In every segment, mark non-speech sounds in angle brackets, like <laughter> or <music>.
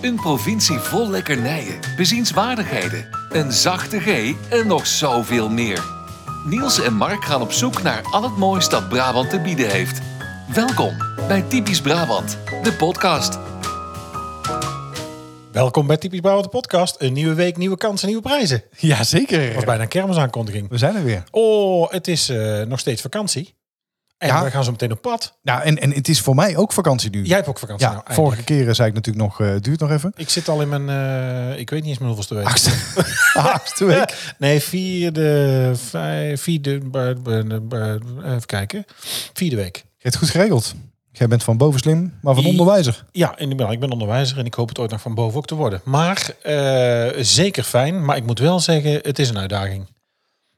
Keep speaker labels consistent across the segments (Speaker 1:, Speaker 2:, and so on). Speaker 1: Een provincie vol lekkernijen, bezienswaardigheden, een zachte G en nog zoveel meer. Niels en Mark gaan op zoek naar al het moois dat Brabant te bieden heeft. Welkom bij Typisch Brabant, de podcast.
Speaker 2: Welkom bij Typisch Bouwen de podcast. Een nieuwe week, nieuwe kansen, nieuwe prijzen. Dat was
Speaker 3: Jazeker.
Speaker 2: bijna een kermisaankondiging.
Speaker 3: We zijn er weer.
Speaker 2: Oh, het is eh, nog steeds vakantie. En
Speaker 3: Ja.
Speaker 2: we gaan zo meteen op pad.
Speaker 3: Nou, en, en het is voor mij ook vakantie nu.
Speaker 2: Jij hebt ook vakantie
Speaker 3: Ja,
Speaker 2: nou eindelijk.
Speaker 3: vorige keren zei ik natuurlijk nog, eh, het duurt nog even.
Speaker 2: Ik zit al in mijn, eh, ik weet niet eens meer hoeveelste week.
Speaker 3: <laughs> Achtste, achtste week.
Speaker 2: Nee, vierde, vij- vierde, ba- ba- ba- ba- even kijken. Vierde week.
Speaker 3: Je hebt het goed geregeld. Jij bent van boven slim, maar van
Speaker 2: Die-
Speaker 3: onderwijzer.
Speaker 2: Ja, in de middag. Ik ben onderwijzer en ik hoop het ooit nog van boven ook te worden. Maar eh, zeker fijn. Maar ik moet wel zeggen, het is een uitdaging.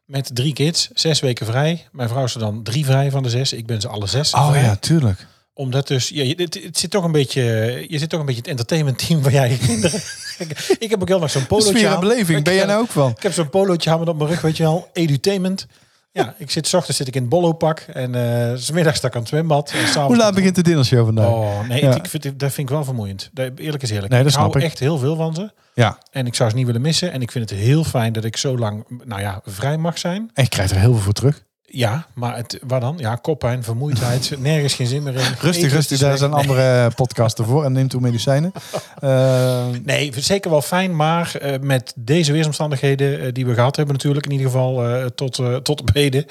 Speaker 2: Met drie kids, zes weken vrij. Mijn vrouw is er dan drie vrij van de zes. Ik ben ze alle zes
Speaker 3: Oh
Speaker 2: vrij.
Speaker 3: ja, tuurlijk.
Speaker 2: Omdat dus, ja, je- het, het zit toch een beetje, je zit toch een beetje het entertainment team van jij kinderen. <laughs> ik, ik heb ook heel nog zo'n polootje
Speaker 3: Sfeer en
Speaker 2: aan.
Speaker 3: beleving, ben jij
Speaker 2: Ik-
Speaker 3: nou ook van?
Speaker 2: Ik heb zo'n polootje aan op mijn rug, weet je wel. Edutainment. Ja, ik zit, s ochtends zit ik in het bollo-pak. En eh, s middags sta ik aan het zwembad. En s'avonds
Speaker 3: Hoe laat begint de dinnershow vandaag?
Speaker 2: Oh, nee,
Speaker 3: Ja.
Speaker 2: ik vind, dat vind ik wel vermoeiend. Dat- Eerlijk is eerlijk.
Speaker 3: Nee, dat
Speaker 2: ik hou
Speaker 3: snap ik.
Speaker 2: echt heel veel van ze.
Speaker 3: Ja,
Speaker 2: En ik zou ze niet willen missen. En ik vind het heel fijn dat ik zo lang, nou ja, vrij mag zijn.
Speaker 3: en je krijgt er heel veel voor terug.
Speaker 2: Ja, maar het, waar dan? Ja, koppijn,
Speaker 3: <laughs>
Speaker 2: vermoeidheid, nergens geen zin meer in. Eten
Speaker 3: Rustig,
Speaker 2: is
Speaker 3: rustig. Daar
Speaker 2: slecht.
Speaker 3: zijn andere podcasten voor. En neem toe <laughs> medicijnen. Eh,
Speaker 2: Nee, zeker wel fijn, maar eh, met deze weersomstandigheden eh, die we gehad hebben natuurlijk, in ieder geval eh, tot, eh tot op heden.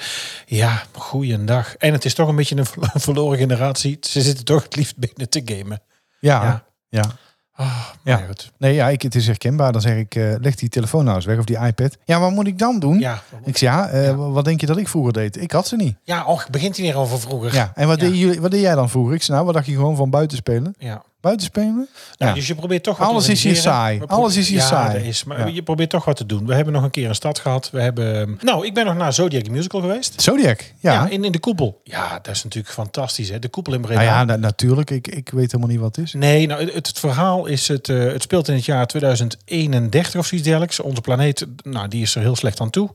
Speaker 2: Ja, goeiedag. En het is toch een beetje een verlo- <laughs> verloren generatie. Ze zitten toch het liefst binnen te gamen.
Speaker 3: ja,
Speaker 2: Ja.
Speaker 3: ja.
Speaker 2: Ah,
Speaker 3: Ja.
Speaker 2: maar goed.
Speaker 3: Nee, ja, ik, het is herkenbaar. Dan zeg ik, eh, leg die telefoon nou eens weg of die iPad. Ja, wat moet ik dan doen?
Speaker 2: ja.
Speaker 3: Ik zeg, ja, eh, wat denk je dat ik vroeger deed? Ik had ze niet.
Speaker 2: Ja, och, begint hij weer over vroeger.
Speaker 3: Ja, en wat,
Speaker 2: Ja.
Speaker 3: Deed jullie, wat deed jij dan vroeger? Ik zei, nou, wat dacht je gewoon van buiten spelen?
Speaker 2: Ja.
Speaker 3: Buiten spelen?
Speaker 2: Nou,
Speaker 3: Ja.
Speaker 2: Dus je probeert toch wat
Speaker 3: Alles
Speaker 2: te
Speaker 3: is hier
Speaker 2: organiseren.
Speaker 3: saai.
Speaker 2: We proberen-
Speaker 3: Alles is hier
Speaker 2: ja,
Speaker 3: saai.
Speaker 2: dat is, maar
Speaker 3: Ja.
Speaker 2: je probeert toch wat te doen. We hebben nog een keer een stad gehad. We hebben... ehm, Nou, ik ben nog naar Zodiac the Musical geweest.
Speaker 3: Zodiac, ja.
Speaker 2: Ja, in, in de koepel. Ja, dat is natuurlijk fantastisch. Hè? De koepel in Breda.
Speaker 3: nou ja, na- natuurlijk. Ik, ik weet helemaal niet wat het is.
Speaker 2: Nee, nou, het, het verhaal is, het, eh, het speelt in het jaar 2031 of zoiets dergelijks. Onze planeet, nou, die is er heel slecht aan toe.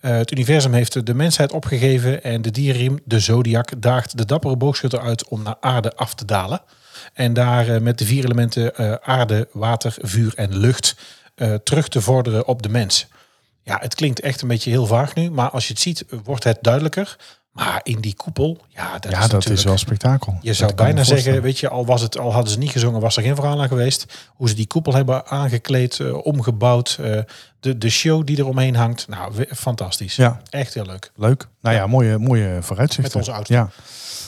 Speaker 2: Eh, het universum heeft de mensheid opgegeven en de dierriem, de zodiac, daagt de dappere boogschutter uit om naar aarde af te dalen. En daar eh, met de vier elementen eh, aarde, water, vuur en lucht eh, terug te vorderen op de mens. Ja, het klinkt echt een beetje heel vaag nu, maar als je het ziet, eh, wordt het duidelijker. Maar in die koepel, ja, dat
Speaker 3: Ja,
Speaker 2: is
Speaker 3: dat is
Speaker 2: natuurlijk-
Speaker 3: wel spektakel.
Speaker 2: je zou
Speaker 3: Dat kan ik
Speaker 2: bijna
Speaker 3: me
Speaker 2: zeggen,
Speaker 3: voorstellen.
Speaker 2: weet je, al, was het, al hadden ze niet gezongen, was er geen verhaal aan geweest. Hoe ze die koepel hebben aangekleed, eh, omgebouwd. eh, de, de show die er omheen hangt. Nou, we- fantastisch.
Speaker 3: Ja,
Speaker 2: Echt heel leuk.
Speaker 3: leuk. Nou ja, mooie, mooie vooruitzichten.
Speaker 2: Met onze auto.
Speaker 3: Ja.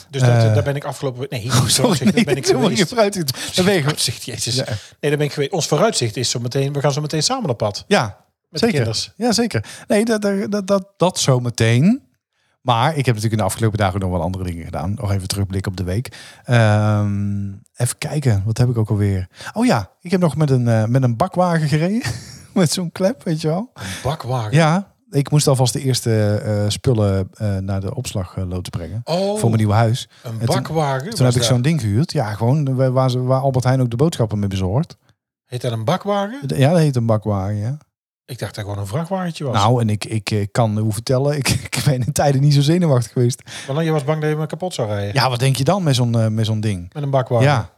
Speaker 2: Dus dat,
Speaker 3: Eh,
Speaker 2: daar ben ik afgelopen...
Speaker 3: <laughs>
Speaker 2: Nee,
Speaker 3: Sorry,
Speaker 2: vooruitzicht, daar ben ik geweest. <laughs>
Speaker 3: vooruitzicht. Dan ben je gewoon-
Speaker 2: Vooruitzicht, jezus.
Speaker 3: Ja.
Speaker 2: Nee, daar ben ik geweest. Ons vooruitzicht is zo meteen... We gaan zo meteen samen op pad.
Speaker 3: Ja,
Speaker 2: Met de kinders.
Speaker 3: zeker. Ja, zeker. Nee, dat, dat, dat, dat, dat zometeen. Maar ik heb natuurlijk in de afgelopen dagen nog wel andere dingen gedaan. Nog even terugblikken op de week. Ehm, even kijken, wat heb ik ook alweer? Oh ja, ik heb nog met een, eh, met een bakwagen gereden. <laughs> met zo'n klep, weet je wel.
Speaker 2: Bakwagen.
Speaker 3: Ja, ik moest alvast de eerste eh, spullen eh, naar de opslagloods brengen.
Speaker 2: Oh,
Speaker 3: Voor mijn nieuwe huis.
Speaker 2: een
Speaker 3: toen-
Speaker 2: bakwagen.
Speaker 3: Toen
Speaker 2: was
Speaker 3: heb ik
Speaker 2: dat.
Speaker 3: zo'n ding gehuurd. Ja, gewoon waar, waar, ze- waar Albert Heijn ook de boodschappen mee bezorgt.
Speaker 2: Heet dat een bakwagen?
Speaker 3: Ja, dat heet een bakwagen. Ja.
Speaker 2: Ik dacht dat gewoon een vrachtwagentje was.
Speaker 3: Nou, en ik, ik eh, kan hoe vertellen, ik, <laughs> ik ben in tijden niet zo zenuwachtig geweest.
Speaker 2: Want je was bang dat je me kapot zou rijden.
Speaker 3: Ja, wat denk je dan met zo'n eh, met zo'n ding?
Speaker 2: Met een bakwagen.
Speaker 3: Ja,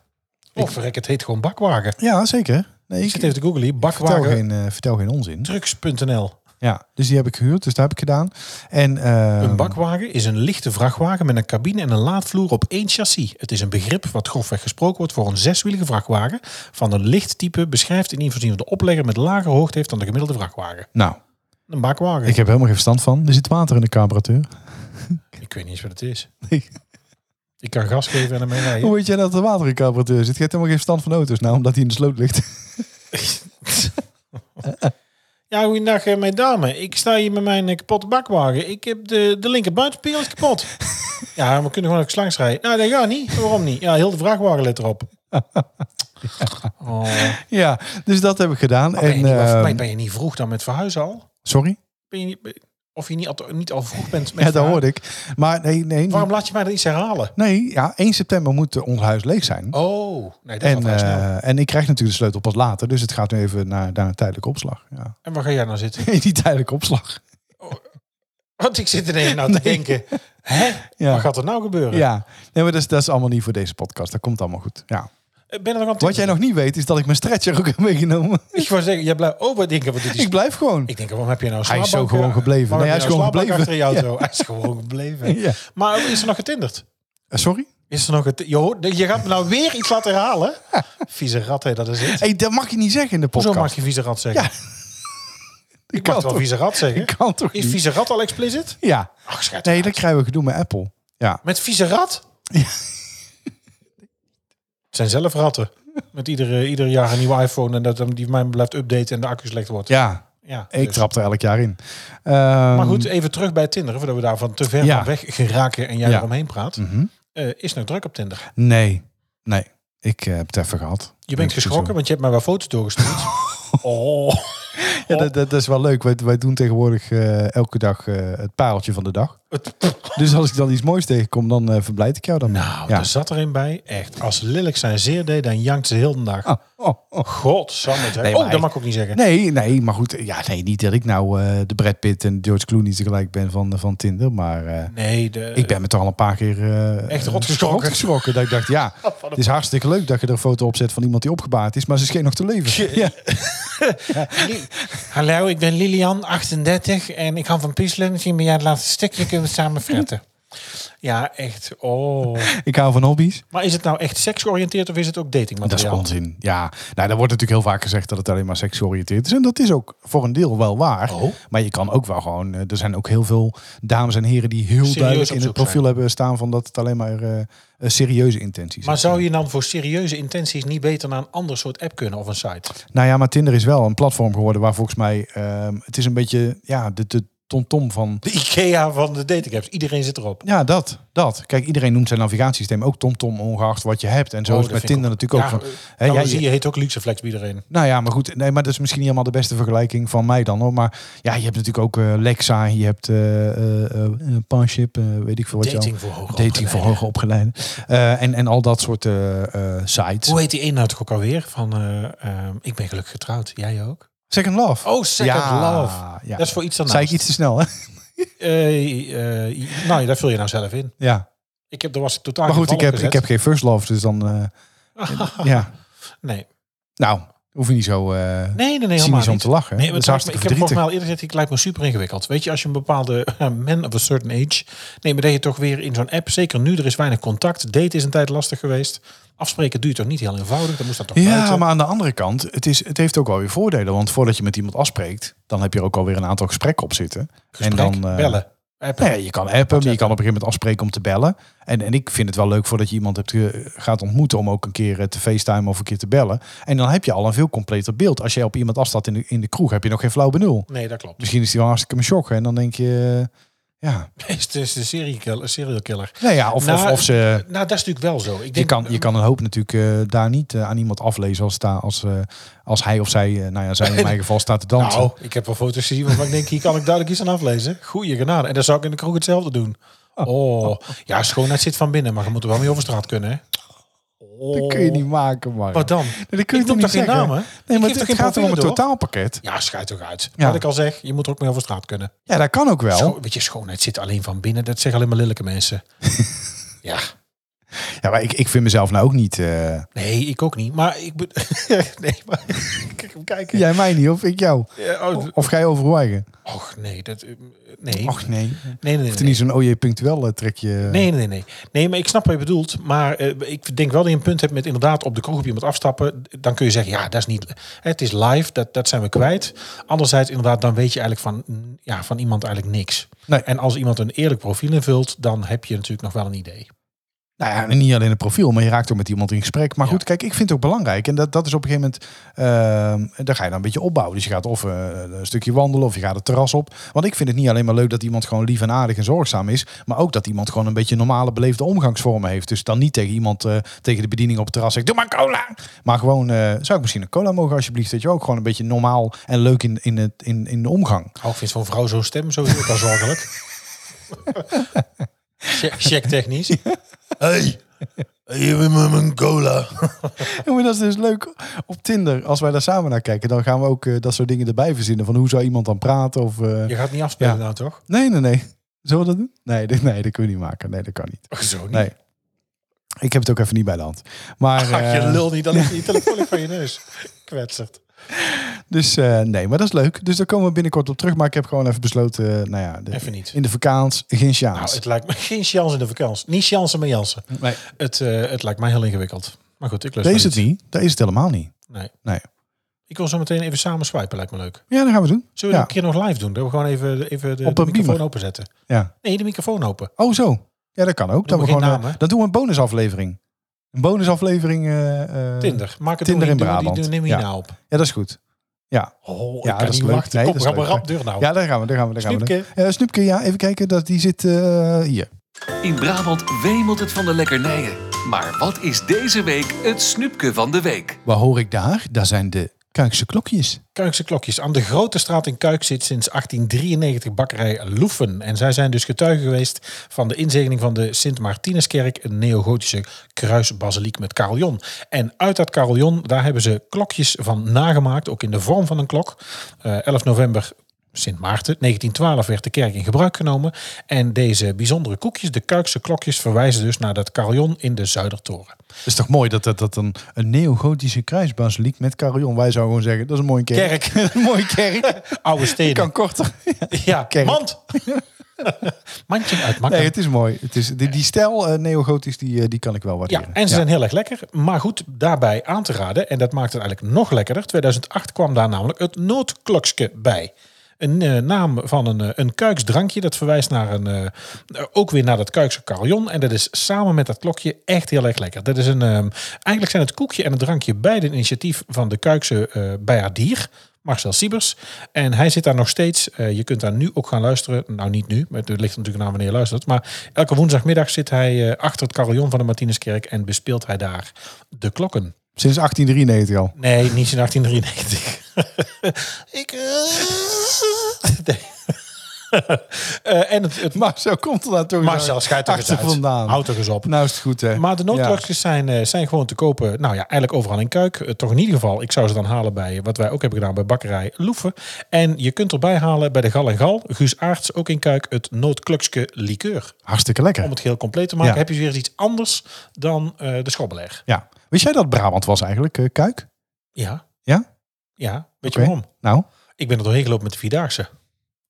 Speaker 2: Of verrek, het heet gewoon bakwagen.
Speaker 3: ja zeker. Nee,
Speaker 2: Ik
Speaker 3: ik,
Speaker 2: zit even te googlen hier.
Speaker 3: vertel,
Speaker 2: Bakwagen
Speaker 3: geen, eh, vertel geen onzin.
Speaker 2: trucks.nl.
Speaker 3: Ja, dus die heb ik gehuurd, dus dat heb ik gedaan. En, eh,
Speaker 2: Een bakwagen is een lichte vrachtwagen met een cabine en een laadvloer op één chassis. Het is een begrip wat grofweg gesproken wordt voor een zeswielige vrachtwagen van een licht type beschrijft in ieder geval de oplegger met lagere hoogte heeft dan de gemiddelde vrachtwagen.
Speaker 3: Nou,
Speaker 2: Een bakwagen.
Speaker 3: ik
Speaker 2: Ik,
Speaker 3: heb helemaal geen verstand van. Er zit water in de carburateur.
Speaker 2: weet niet eens wat het
Speaker 3: <laughs>
Speaker 2: is.
Speaker 3: Nee.
Speaker 2: Ik kan gas geven en ermee rijden.
Speaker 3: Hoe weet jij dat er water in de carburateur zit? Je hebt helemaal geen verstand van auto's, nou, omdat hij in de sloot ligt. <laughs>
Speaker 2: <laughs> Ja, goeiedag eh, mijn dame. Ik sta hier met mijn eh, kapotte bakwagen. Ik heb de, de linker buitenspiegel is
Speaker 3: <laughs>
Speaker 2: kapot. ja, we kunnen gewoon even langs rijden. Nou, dat gaat niet. Waarom niet? Ja, heel de vrachtwagen let
Speaker 3: <laughs>
Speaker 2: erop. Oh.
Speaker 3: Ja, dus dat heb ik gedaan.
Speaker 2: Maar ben,
Speaker 3: en,
Speaker 2: je niet, maar
Speaker 3: eh,
Speaker 2: ben- ben je niet vroeg dan met verhuizen al?
Speaker 3: sorry?
Speaker 2: Ben je niet, of je niet al, niet al vroeg bent met
Speaker 3: Ja, dat
Speaker 2: verhuizen?
Speaker 3: hoorde ik. Maar nee, nee.
Speaker 2: Waarom laat je mij dat iets herhalen?
Speaker 3: Nee, ja, 1 september moet eh, ons huis leeg zijn.
Speaker 2: Oh, nee, dat
Speaker 3: En,
Speaker 2: gaat vrij snel.
Speaker 3: eh, en ik krijg natuurlijk de sleutel pas later. Dus het gaat nu even naar, naar een tijdelijke opslag. Ja. <laughs>
Speaker 2: En waar ga jij nou zitten? <laughs>
Speaker 3: In die tijdelijke opslag.
Speaker 2: Want ik zit ineens nou te denken, hè?
Speaker 3: Ja.
Speaker 2: Wat gaat er nou gebeuren?
Speaker 3: Ja, nee, maar dat is, dat is allemaal niet voor deze podcast. Dat komt allemaal goed. Ja.
Speaker 2: Ik Eh, ben er nog aan
Speaker 3: Wat jij nog niet weet, is dat ik mijn stretcher ook heb
Speaker 2: <laughs>
Speaker 3: meegenomen.
Speaker 2: Ik wou zeggen, jij blijft over denken. Wat dit is.
Speaker 3: Ik blijf gewoon.
Speaker 2: Dus Ik denk, waarom heb je nou een
Speaker 3: Hij is
Speaker 2: slaapbank,
Speaker 3: zo gewoon
Speaker 2: eh,
Speaker 3: gebleven.
Speaker 2: waarom
Speaker 3: Nee,
Speaker 2: heb
Speaker 3: hij is
Speaker 2: je nou
Speaker 3: gewoon
Speaker 2: een slaapbank Achter jou
Speaker 3: gebleven. <laughs>
Speaker 2: zo? Hij is gewoon gebleven.
Speaker 3: Ja.
Speaker 2: Maar is er nog getinderd?
Speaker 3: Eh, Sorry?
Speaker 2: Is er nog het? Je, hoort- je gaat me nou weer iets laten
Speaker 3: <laughs>
Speaker 2: herhalen. Vieze rat, hè, dat is het.
Speaker 3: Hey, dat mag je niet zeggen in de
Speaker 2: Hoezo
Speaker 3: podcast.
Speaker 2: mag je vieze rat zeggen?
Speaker 3: Ja,
Speaker 2: ik mag wel
Speaker 3: toch-
Speaker 2: vieze rat zeggen.
Speaker 3: <laughs> Ik kan toch
Speaker 2: Is
Speaker 3: niet?
Speaker 2: vieze rat al explicit?
Speaker 3: Ja.
Speaker 2: Ach, schat.
Speaker 3: Nee, dat krijgen we gedoe met Apple. Ja.
Speaker 2: Met vieze rat?
Speaker 3: <laughs> Ja.
Speaker 2: Het zijn zelf ratten. Met iedere, ieder jaar een nieuwe iPhone en dat hem die mij blijft updaten en de accu slecht wordt.
Speaker 3: Ja.
Speaker 2: Ja,
Speaker 3: Ik
Speaker 2: dus.
Speaker 3: trap er elk jaar in.
Speaker 2: Maar goed, even terug bij Tinder, voordat we daarvan te ver
Speaker 3: Ehm, Ja.
Speaker 2: van weg geraken en jij
Speaker 3: Ja. Mhm.
Speaker 2: eromheen praat. Eh, is nog druk op Tinder.
Speaker 3: Ehm, Nee. Nee. Ik eh, heb het even gehad.
Speaker 2: Je bent
Speaker 3: Ik-
Speaker 2: geschrokken, want je hebt mij wel foto's
Speaker 3: <laughs>
Speaker 2: doorgestuurd. oh.
Speaker 3: Ja, dat, dat, dat is wel leuk. Wij, wij doen tegenwoordig eh, elke dag eh, het pareltje van de dag.
Speaker 2: Het-
Speaker 3: Dus als ik dan iets moois tegenkom, dan eh, verblijd ik jou dan.
Speaker 2: Nou,
Speaker 3: ja.
Speaker 2: er zat er een bij. Echt, als Lillik zijn zeer deed, dan jankt ze heel de dag.
Speaker 3: Ah, oh, oh.
Speaker 2: God, Sam het.
Speaker 3: Nee,
Speaker 2: oh,
Speaker 3: maar
Speaker 2: dat
Speaker 3: hij-
Speaker 2: mag ik ook niet zeggen.
Speaker 3: Nee, nee, maar goed. Ja, nee, niet dat ik nou eh, de Brad Pitt en George Clooney tegelijk ben van, van Tinder. Maar eh,
Speaker 2: Nee, de,
Speaker 3: ik ben me toch al een paar keer eh,
Speaker 2: Echt rotgeschrokken.
Speaker 3: rotgeschrokken. Dat ik dacht,
Speaker 2: <laughs>
Speaker 3: ja, het is hartstikke leuk dat je er een foto op zet van iemand die opgebaard is. Maar ze scheen nog te leven. Ja.
Speaker 2: Hallo, ik ben Lilian, 38 en ik hou van puzzelen. Misschien ben jij het laatste stukje, kunnen we samen fretten. Ja, echt. Oh.
Speaker 3: <laughs> Ik hou van hobby's.
Speaker 2: Maar is het nou echt seksgeoriënteerd of is het ook
Speaker 3: Dat is
Speaker 2: datingmateriaal?
Speaker 3: onzin. Ja, nou, er wordt natuurlijk heel vaak gezegd dat het alleen maar seksgeoriënteerd is. En dat is ook voor een deel wel waar.
Speaker 2: Oh.
Speaker 3: Maar je kan ook wel gewoon. eh, Er zijn ook heel veel dames en heren die heel
Speaker 2: Serieus
Speaker 3: duidelijk
Speaker 2: op
Speaker 3: in het
Speaker 2: zoek
Speaker 3: profiel
Speaker 2: zijn.
Speaker 3: hebben staan van dat het alleen maar eh, eh, serieuze intenties
Speaker 2: Maar
Speaker 3: is.
Speaker 2: zou je dan voor serieuze intenties niet beter naar een ander soort app kunnen of een site?
Speaker 3: Nou ja, maar Tinder is wel een platform geworden waar volgens mij ehm, het is een beetje ja, de, de tomtom van.
Speaker 2: De IKEA van de dating apps. Iedereen zit erop.
Speaker 3: Ja, dat, dat. Kijk, iedereen noemt zijn navigatiesysteem ook TomTom, ongeacht wat je hebt. En zo
Speaker 2: Oh,
Speaker 3: is
Speaker 2: dat
Speaker 3: het met
Speaker 2: vind ik
Speaker 3: Tinder natuurlijk ook.
Speaker 2: ja,
Speaker 3: van,
Speaker 2: eh,
Speaker 3: hè,
Speaker 2: nou,
Speaker 3: jij-
Speaker 2: zie je heet ook Luxeflex bij iedereen.
Speaker 3: Nou ja, maar goed. Nee, maar dat is misschien niet helemaal de beste vergelijking van mij dan hoor. Maar ja, je hebt natuurlijk ook eh, Lexa, je hebt eh eh, eh, eh, Parship, eh, weet ik veel wat je
Speaker 2: Dating voor hoger
Speaker 3: al- Dating voor hoger opgeleiden. Eh, en, en al dat soort eh, eh, sites.
Speaker 2: Hoe heet die een nou toch ook alweer? Van, eh, ehm, ik ben gelukkig getrouwd. Jij ook?
Speaker 3: Second Love.
Speaker 2: Oh, Second
Speaker 3: Ja,
Speaker 2: Love.
Speaker 3: ja.
Speaker 2: Dat is voor iets dan.
Speaker 3: Zei ik iets te snel, hè?
Speaker 2: nou, ja, daar vul je nou zelf in.
Speaker 3: Ja.
Speaker 2: Ik heb, er was ik totaal
Speaker 3: Maar goed,
Speaker 2: geen
Speaker 3: ik heb,
Speaker 2: valk
Speaker 3: ik heb geen First Love, dus
Speaker 2: <laughs>
Speaker 3: dan... eh, ja.
Speaker 2: gezet. Nee,
Speaker 3: Nou, hoef je niet zo eh
Speaker 2: nee, nee, nee helemaal
Speaker 3: cynisch om
Speaker 2: niet.
Speaker 3: te lachen.
Speaker 2: Nee, maar het
Speaker 3: dat is
Speaker 2: lijkt me-
Speaker 3: hartstikke
Speaker 2: ik heb nog
Speaker 3: verdrietig.
Speaker 2: maar al eerder gezegd, ik lijkt me super ingewikkeld. Weet je, als je een bepaalde eh, man of a certain age... Nee, maar dat je toch weer in zo'n app... Zeker nu, er is weinig contact. Daten is een tijd lastig geweest. Afspreken duurt toch niet heel eenvoudig? Dan moest dat toch
Speaker 3: Ja,
Speaker 2: buiten.
Speaker 3: maar aan de andere kant, het, is, het heeft ook wel weer voordelen. Want voordat je met iemand afspreekt, dan heb je er ook alweer een aantal gesprekken op zitten.
Speaker 2: Gesprek,
Speaker 3: en dan eh,
Speaker 2: Dus bellen. appen.
Speaker 3: Nou ja, je kan appen, maar je kan op een gegeven moment afspreken om te bellen. En, en ik vind het wel leuk voordat je iemand hebt ge- gaat ontmoeten om ook een keer eh, te facetimen of een keer te bellen. En dan heb je al een veel completer beeld. Als jij op iemand afstaat in de, in de kroeg, heb je nog geen flauw benul.
Speaker 2: Nee, dat klopt. <laughs>
Speaker 3: Misschien is die wel hartstikke een shock. hè, En dan denk je, eh, ja,
Speaker 2: Is de, is de serial killer. Serial killer.
Speaker 3: nou ja, of,
Speaker 2: Nou,
Speaker 3: of, of ze...
Speaker 2: Nou, dat is natuurlijk wel zo. Ik denk,
Speaker 3: Je kan, je kan een hoop natuurlijk eh, daar niet eh, aan iemand aflezen als, daar, als, eh, als hij of zij, eh, nou ja, zij in mijn geval staat te dansen.
Speaker 2: Nou, ik heb wel foto's gezien waarvan ik denk, hier kan ik duidelijk iets aan aflezen. Goeie genade. En dan zou ik in de kroeg hetzelfde doen. Oh, ja, schoonheid zit van binnen, maar je moet er wel mee over straat kunnen. Hè? Oh.
Speaker 3: dat kun je niet maken, maar.
Speaker 2: Wat dan?
Speaker 3: Dat kun je
Speaker 2: ik noem
Speaker 3: toch niet
Speaker 2: geen
Speaker 3: zeggen?
Speaker 2: namen?
Speaker 3: Nee,
Speaker 2: Ik
Speaker 3: maar
Speaker 2: geef
Speaker 3: het
Speaker 2: toch geen
Speaker 3: gaat erom een
Speaker 2: profielen door?
Speaker 3: totaalpakket.
Speaker 2: Ja, schijt toch uit.
Speaker 3: Ja.
Speaker 2: Wat ik al zeg, je moet er ook mee over straat kunnen.
Speaker 3: Ja, dat kan ook wel.
Speaker 2: Scho- weet je, schoonheid zit alleen van binnen. Dat zeggen alleen maar lelijke
Speaker 3: <laughs>
Speaker 2: mensen. ja,
Speaker 3: Ja, maar ik, ik vind mezelf nou ook niet. eh,
Speaker 2: nee, ik ook niet. Maar ik... be- <laughs> nee, maar... Kijk hem kijken.
Speaker 3: Jij mij niet, of ik jou.
Speaker 2: Ja, oh,
Speaker 3: Of jij over hoe eigen.
Speaker 2: Och nee, dat. eh, Nee.
Speaker 3: Och nee. Hoeft
Speaker 2: nee, nee, nee.
Speaker 3: er
Speaker 2: nee.
Speaker 3: niet zo'n OJ punctueel eh, trekje.
Speaker 2: Nee, nee, nee. Nee, maar ik snap wat je bedoelt. Maar eh, ik denk wel dat je een punt hebt met inderdaad op de kroeg op iemand afstappen. Dan kun je zeggen, ja, dat is niet... eh, Het is live, dat, dat zijn we kwijt. Anderzijds inderdaad, dan weet je eigenlijk van, mm, ja, van iemand eigenlijk niks.
Speaker 3: Nee.
Speaker 2: En als iemand een eerlijk profiel invult, dan heb je natuurlijk nog wel een idee.
Speaker 3: Nou ja, en niet alleen een profiel, maar je raakt ook met iemand in gesprek. Maar
Speaker 2: Ja.
Speaker 3: goed, kijk, ik vind het ook belangrijk. En dat, dat is op een gegeven moment. ehm daar ga je dan een beetje opbouwen. Dus je gaat of eh, een stukje wandelen of je gaat het terras op. Want ik vind het niet alleen maar leuk dat iemand gewoon lief en aardig en zorgzaam is. Maar ook dat iemand gewoon een beetje normale beleefde omgangsvormen heeft. Dus dan niet tegen iemand, eh, tegen de bediening op het terras zegt: Doe maar cola. Maar gewoon, eh, zou ik misschien een cola mogen alsjeblieft? Dat je ook gewoon een beetje normaal en leuk in, in, het, in, in de omgang.
Speaker 2: Oh, ik vind van vrouw zo'n stem sowieso ook al
Speaker 3: <laughs>
Speaker 2: zorgelijk. Check- Check technisch. Hey, je bent met mijn cola.
Speaker 3: <laughs> Ja, maar dat is dus leuk op Tinder. Als wij daar samen naar kijken, dan gaan we ook eh, dat soort dingen erbij verzinnen. Van hoe zou iemand dan praten? Of, eh,
Speaker 2: Je gaat niet afspelen
Speaker 3: Ja.
Speaker 2: nou, toch?
Speaker 3: <laughs> Nee, nee, nee. Zullen we dat doen? Nee, dit- nee, dat kunnen we niet maken. Nee, dat kan niet.
Speaker 2: Ach, Zo niet.
Speaker 3: Nee. Ik heb het ook even niet bij de hand. Maar,
Speaker 2: Ach, je
Speaker 3: eh,
Speaker 2: lul niet, dan ligt die
Speaker 3: <laughs>
Speaker 2: telefoon van je neus. Kwetsert.
Speaker 3: Dus eh, nee, maar dat is leuk. Dus daar komen we binnenkort op terug. Maar ik heb gewoon even besloten, eh, nou ja, de-
Speaker 2: Even niet.
Speaker 3: in de vakantie geen
Speaker 2: Nou,
Speaker 3: chance.
Speaker 2: het lijkt me <laughs> geen chance in de vakantie. Niet chance, maar Jansen.
Speaker 3: nee,
Speaker 2: Het, eh, het lijkt mij heel ingewikkeld. Maar goed, ik lust
Speaker 3: daar is
Speaker 2: wel
Speaker 3: het niet. Daar is het helemaal niet.
Speaker 2: Nee.
Speaker 3: Nee.
Speaker 2: Ik wil zo meteen even samen swipen, lijkt me leuk.
Speaker 3: Ja, dat gaan we doen.
Speaker 2: Zullen we
Speaker 3: Ja.
Speaker 2: dat een keer nog live doen? Dat we gewoon even, even de,
Speaker 3: Op
Speaker 2: de
Speaker 3: een
Speaker 2: microfoon
Speaker 3: beamer.
Speaker 2: openzetten.
Speaker 3: Ja.
Speaker 2: Nee, de microfoon open.
Speaker 3: Oh, zo. Ja, dat kan ook. Dan,
Speaker 2: we
Speaker 3: we
Speaker 2: geen
Speaker 3: gewoon, eh,
Speaker 2: namen.
Speaker 3: dan doen we een bonusaflevering. Een bonusaflevering. eh, eh,
Speaker 2: Tinder. Maak het door, die- die-
Speaker 3: Tinder in
Speaker 2: die-
Speaker 3: Brabant.
Speaker 2: Die neem je
Speaker 3: Ja.
Speaker 2: nou op.
Speaker 3: Ja, dat is goed.
Speaker 2: Oh, ik
Speaker 3: Ja,
Speaker 2: kan
Speaker 3: dat is
Speaker 2: niet
Speaker 3: leuk.
Speaker 2: wachten.
Speaker 3: Nee,
Speaker 2: Kom,
Speaker 3: dat is
Speaker 2: rap,
Speaker 3: leuk.
Speaker 2: rap, deur nou.
Speaker 3: Ja, daar gaan we. Daar gaan we. Daar gaan we.
Speaker 2: Snoepke.
Speaker 3: Eh, Oh. Snoepke, ja, even kijken. Dat, die zit eh, hier.
Speaker 1: In Brabant wemelt het van de lekkernijen. Maar wat is deze week het snoepje van de week?
Speaker 3: Waar hoor ik daar? Daar zijn de Kuikse klokjes.
Speaker 2: Kuikse klokjes. Aan de Grote Straat in Kuik zit sinds 1893 bakkerij Loefen. En zij zijn dus getuige geweest van de inzegening van de Sint-Martinuskerk, een neogotische kruisbasiliek met carillon. En uit dat carillon, daar hebben ze klokjes van nagemaakt, ook in de vorm van een klok. Eh, 11 november Sint Maarten. 1912 werd de kerk in gebruik genomen. En deze bijzondere koekjes, de Kuikse klokjes, verwijzen dus naar dat carillon in de Zuidertoren.
Speaker 3: Het is toch mooi dat dat, dat een, een neogotische kruisbasiliek met carillon. Wij zouden gewoon zeggen, <laughs> dat is een mooie kerk.
Speaker 2: Kerk,
Speaker 3: een mooie kerk. <laughs>
Speaker 2: oude steden.
Speaker 3: kan <laughs> korter.
Speaker 2: ja,
Speaker 3: kerk.
Speaker 2: mand! <laughs> Mandje uit Makkelijk.
Speaker 3: Nee, het is mooi. Het is, die, die stijl eh, neogotisch, die, eh, die kan ik wel waarderen.
Speaker 2: Ja, en ze zijn heel erg lekker. Maar goed, daarbij aan te raden, en dat maakt het eigenlijk nog lekkerder. 2008 kwam daar namelijk het noodklokske bij. Een eh, naam van een, eh, een kuiksdrankje. Dat verwijst naar een, eh, eh, ook weer naar dat kuikse carillon. En dat is samen met dat klokje echt heel erg lekker. Dat is een, ehm, eigenlijk zijn het koekje en het drankje beide een initiatief van de kuikse eh bijaardier. Marcel Siebers. En hij zit daar nog steeds. Eh, je kunt daar nu ook gaan luisteren. Nou, niet nu. maar Het ligt natuurlijk aan wanneer je luistert. Maar elke woensdagmiddag zit hij eh, achter het carillon van de Martinuskerk. En bespeelt hij daar de klokken.
Speaker 3: Sinds 1893 al.
Speaker 2: Nee, niet in 1893. <laughs> Ik... eh, <laughs> nee. <laughs> Eh, en het, het
Speaker 3: <laughs> Maar zo komt er dan toch
Speaker 2: Marcel, schijt toch eens
Speaker 3: achter
Speaker 2: uit.
Speaker 3: vandaan.
Speaker 2: Houd toch eens op.
Speaker 3: Nou is het goed, hè?
Speaker 2: Maar de
Speaker 3: noodklokjes.
Speaker 2: noodklokjes zijn, eh, zijn gewoon te kopen. Nou ja, eigenlijk overal in Kuik. Eh, toch in ieder geval, ik zou ze dan halen bij eh, wat wij ook hebben gedaan bij bakkerij Loeven. En je kunt erbij halen bij de Gal en Gal. Guus Aarts, ook in Kuik, het noodklokske likeur.
Speaker 3: Hartstikke
Speaker 2: Om
Speaker 3: lekker.
Speaker 2: het heel compleet te maken
Speaker 3: Ja.
Speaker 2: heb je weer eens iets anders dan eh, de schobbeler.
Speaker 3: Ja. Wist jij dat Brabant was eigenlijk, eh, Kuik?
Speaker 2: Ja.
Speaker 3: Ja?
Speaker 2: Ja, weet
Speaker 3: Oké.
Speaker 2: je waarom?
Speaker 3: Nou,
Speaker 2: Ik ben er doorheen gelopen met de Vierdaagse.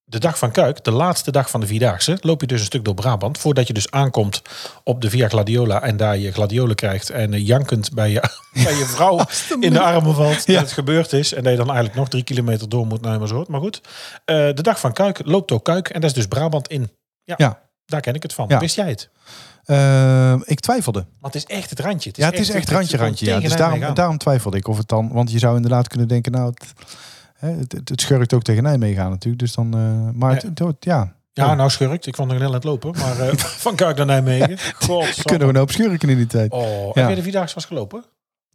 Speaker 2: De dag van Kuik, de laatste dag van de Vierdaagse, loop je dus een stuk door Brabant. Voordat je dus aankomt op de Via Gladiola en daar je gladiolen krijgt. En eh, jankend bij je, <laughs> bij je vrouw in de armen valt dat het gebeurd is. En dat je dan eigenlijk nog drie kilometer door moet naar Amersfoort. Maar goed, eh, de dag van Kuik loopt door Kuik en dat is dus Brabant in. Ja,
Speaker 3: Ja.
Speaker 2: daar ken ik het van.
Speaker 3: Ja.
Speaker 2: Wist jij het?
Speaker 3: eh, ik twijfelde.
Speaker 2: Want het is echt het randje.
Speaker 3: ja, het is echt randje, randje. Ja. Dus daarom, daarom twijfelde ik of het dan... Want je zou inderdaad kunnen denken, nou, het, hè, het, het, het schurkt ook tegen Nijmegen aan natuurlijk. Dus dan... eh, maar het,
Speaker 2: Ja.
Speaker 3: het wordt- ja,
Speaker 2: Ja, nou schurkt. Ik vond het heel aan het lopen. Maar eh, <laughs> van Kuik naar Nijmegen. God,
Speaker 3: <laughs> kunnen we een hoop schurken in die tijd.
Speaker 2: Oh,
Speaker 3: Ja.
Speaker 2: heb je de Vierdaagse was gelopen?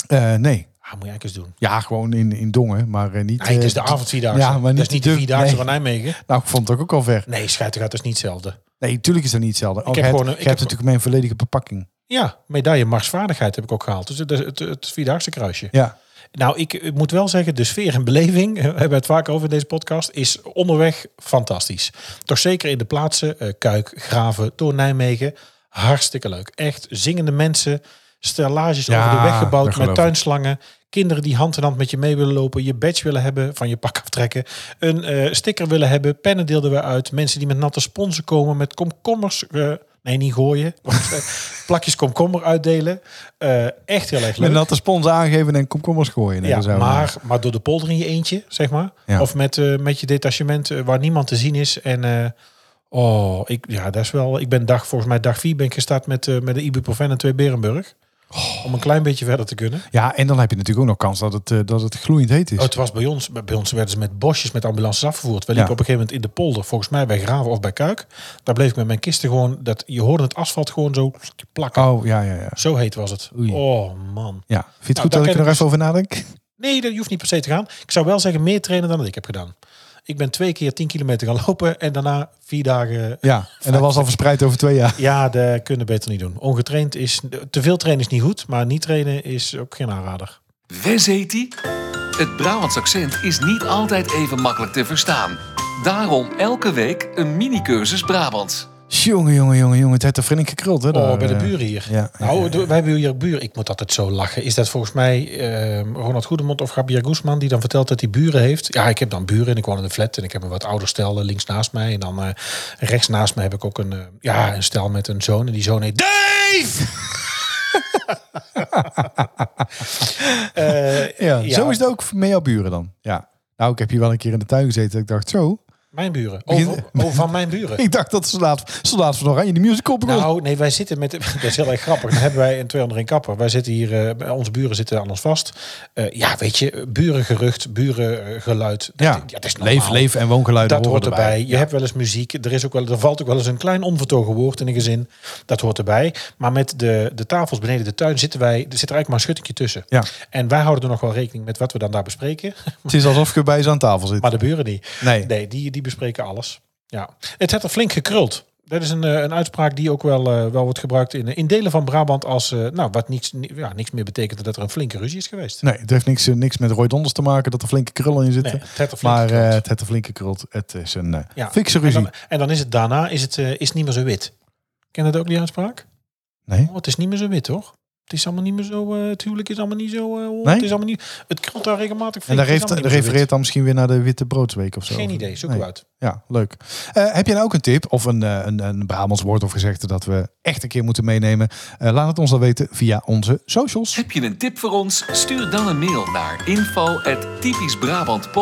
Speaker 3: Eh, nee.
Speaker 2: Ah, moet je eigenlijk eens doen.
Speaker 3: Ja, gewoon in, in Dongen, maar eh, niet...
Speaker 2: Nee, het is de
Speaker 3: eh,
Speaker 2: avondvierdaagse.
Speaker 3: Ja, maar
Speaker 2: dat is
Speaker 3: niet
Speaker 2: niet
Speaker 3: de-
Speaker 2: de vierdaagse
Speaker 3: nee.
Speaker 2: van Nijmegen.
Speaker 3: Nou, ik vond het ook al ver.
Speaker 2: Nee, schijt gaat dus niet hetzelfde.
Speaker 3: Nee, natuurlijk is dat niet hetzelfde. Ik
Speaker 2: heb
Speaker 3: heb
Speaker 2: gewoon een-
Speaker 3: je
Speaker 2: ik
Speaker 3: hebt
Speaker 2: heb-
Speaker 3: natuurlijk mijn volledige verpakking.
Speaker 2: Ja, medaille marsvaardigheid heb ik ook gehaald. Dus het, het, het vierdaagse kruisje.
Speaker 3: Ja.
Speaker 2: Nou, ik, ik moet wel zeggen, de sfeer en beleving, <laughs> eh, we hebben het vaak over in deze podcast, is onderweg fantastisch. Toch zeker in de plaatsen, eh, Kuik, Graven, door Nijmegen, hartstikke leuk. Echt zingende mensen, stellages
Speaker 3: Ja,
Speaker 2: over de weg
Speaker 3: dat
Speaker 2: gebouwd
Speaker 3: geloof
Speaker 2: met
Speaker 3: ik.
Speaker 2: tuinslangen. Kinderen die hand in hand met je mee willen lopen, je badge willen hebben, van je pak aftrekken. Een eh, sticker willen hebben, pennen deelden we uit. Mensen die met natte sponsen komen, met komkommers... eh, nee, niet gooien. <laughs> eh, Plakjes komkommer uitdelen. Eh, echt heel erg leuk.
Speaker 3: Met natte spons aangeven en komkommers gooien. Nee,
Speaker 2: Ja,
Speaker 3: dat zou-
Speaker 2: maar, maar door de polder in je eentje, zeg maar.
Speaker 3: Ja.
Speaker 2: Of met, eh, met je detachement eh, waar niemand te zien is. En eh, oh, ik, ja, dat is wel. Ik ben dag, volgens mij dag vier ben ik gestart met, eh, met de ibuprofen en twee Berenburg.
Speaker 3: Oh.
Speaker 2: Om een klein beetje verder te kunnen.
Speaker 3: Ja, en dan heb je natuurlijk ook nog kans dat het, eh, dat het gloeiend heet is.
Speaker 2: Oh, het was bij ons. Bij bij ons werden ze met bosjes met ambulances afgevoerd. We liepen
Speaker 3: Ja.
Speaker 2: op een gegeven moment in de polder, volgens mij bij Graven of bij Kuik. Daar bleef ik met mijn kisten gewoon. Dat, je hoorde het asfalt gewoon zo plakken.
Speaker 3: Oh, ja, ja, ja.
Speaker 2: Zo heet was het.
Speaker 3: Oei.
Speaker 2: Oh man.
Speaker 3: Ja,
Speaker 2: Nou, daar
Speaker 3: vind je het goed dat ik
Speaker 2: ken
Speaker 3: er
Speaker 2: ik
Speaker 3: even over nadenk?
Speaker 2: Nee, dat je hoeft niet per se te gaan. Ik zou wel zeggen meer trainen dan dat ik heb gedaan. Ik ben twee keer 10 kilometer gaan lopen en daarna vier dagen.
Speaker 3: Ja, en dat was al verspreid over twee jaar.
Speaker 2: Ja, dat kunnen we beter niet doen. Ongetraind is. Te veel trainen is niet goed, maar niet trainen is ook geen aanrader.
Speaker 1: Wes heet die? Het Brabants accent is niet altijd even makkelijk te verstaan. Daarom elke week een mini-cursus Brabants.
Speaker 3: Jongen, jongen, jongen, jongen. Het heeft er vriendelijk gekruld, hè?
Speaker 2: Oh,
Speaker 3: daar,
Speaker 2: bij de
Speaker 3: eh.
Speaker 2: buren hier.
Speaker 3: ja,
Speaker 2: nou, d- wij hebben hier buren. Ik moet altijd zo lachen. Is dat volgens mij ehm, Ronald Goedemond of Gabriel Guzman die dan vertelt dat hij buren heeft? Ja, ik heb dan buren en ik woon in een flat en ik heb een wat ouder stel eh, links naast mij. En dan eh, rechts naast mij heb ik ook een, eh, ja, een stel met een zoon. En die zoon heet Dave! <laughs> Eh,
Speaker 3: Ja,
Speaker 2: Ja.
Speaker 3: zo is het ook met jouw buren dan. Ja. Nou, ik heb hier wel een keer in de tuin gezeten. dat Ik dacht zo. <laughs>
Speaker 2: mijn buren. Oh, oh, oh, van mijn buren.
Speaker 3: Ik dacht dat soldaat, soldaat van Oranje de musical begon.
Speaker 2: Nou, nee, wij zitten met... <laughs> Dat is heel erg grappig. Dan hebben wij een 201 kapper. Wij zitten hier... eh, bij onze buren zitten aan ons vast. Eh, ja, weet je, burengerucht, burengeluid. Dat,
Speaker 3: ja.
Speaker 2: dat is normaal.
Speaker 3: leef, leef en woongeluiden
Speaker 2: Dat
Speaker 3: horen
Speaker 2: hoort erbij. Je hebt wel eens muziek. Er, is ook wel, er valt ook wel eens een klein onvertogen woord in een gezin. Dat hoort erbij. Maar met de, de tafels beneden de tuin zitten wij, er zit er eigenlijk maar een schuttingje tussen.
Speaker 3: Ja.
Speaker 2: En wij houden er nog wel rekening met wat we dan daar bespreken. <laughs>
Speaker 3: Het is alsof je bij ze aan tafel zit.
Speaker 2: Maar de buren niet.
Speaker 3: nee.
Speaker 2: Nee, die, die bespreken alles. Ja. Het heeft er flink gekruld. Dat is een, eh, een uitspraak die ook wel, eh, wel wordt gebruikt in, in delen van Brabant als eh, nou, wat niks, ni- ja, niks meer betekent dat er een flinke ruzie is geweest.
Speaker 3: nee, het heeft niks, eh, niks met Roy Donders te maken dat er flinke krullen in zitten.
Speaker 2: Nee, het heeft er flink
Speaker 3: maar eh,
Speaker 2: gekruld.
Speaker 3: het heeft een flinke krult. Het is een eh,
Speaker 2: Ja.
Speaker 3: fikse
Speaker 2: en,
Speaker 3: ruzie.
Speaker 2: dan, en dan is het daarna is het, eh, is het niet meer zo wit. Ken je dat ook die uitspraak?
Speaker 3: Nee?
Speaker 2: Oh, het is niet meer zo wit, toch? Het is allemaal niet meer zo. eh het huwelijk is allemaal niet zo. eh, oh,
Speaker 3: Nee?
Speaker 2: Het is allemaal niet. Het krult daar regelmatig.
Speaker 3: En
Speaker 2: flink,
Speaker 3: daar
Speaker 2: het is
Speaker 3: heeft,
Speaker 2: allemaal niet meer zo
Speaker 3: refereert dan misschien weer naar de Witte Broodsweek of zo.
Speaker 2: wit. Geen idee. Zoek
Speaker 3: Nee.
Speaker 2: we uit.
Speaker 3: Ja, leuk. Eh, heb je nou ook een tip of een, eh, een, een Brabants woord of gezegde dat we echt een keer moeten meenemen? Eh, laat het ons dan weten via onze socials.
Speaker 1: Heb je een tip voor ons? Stuur dan een mail naar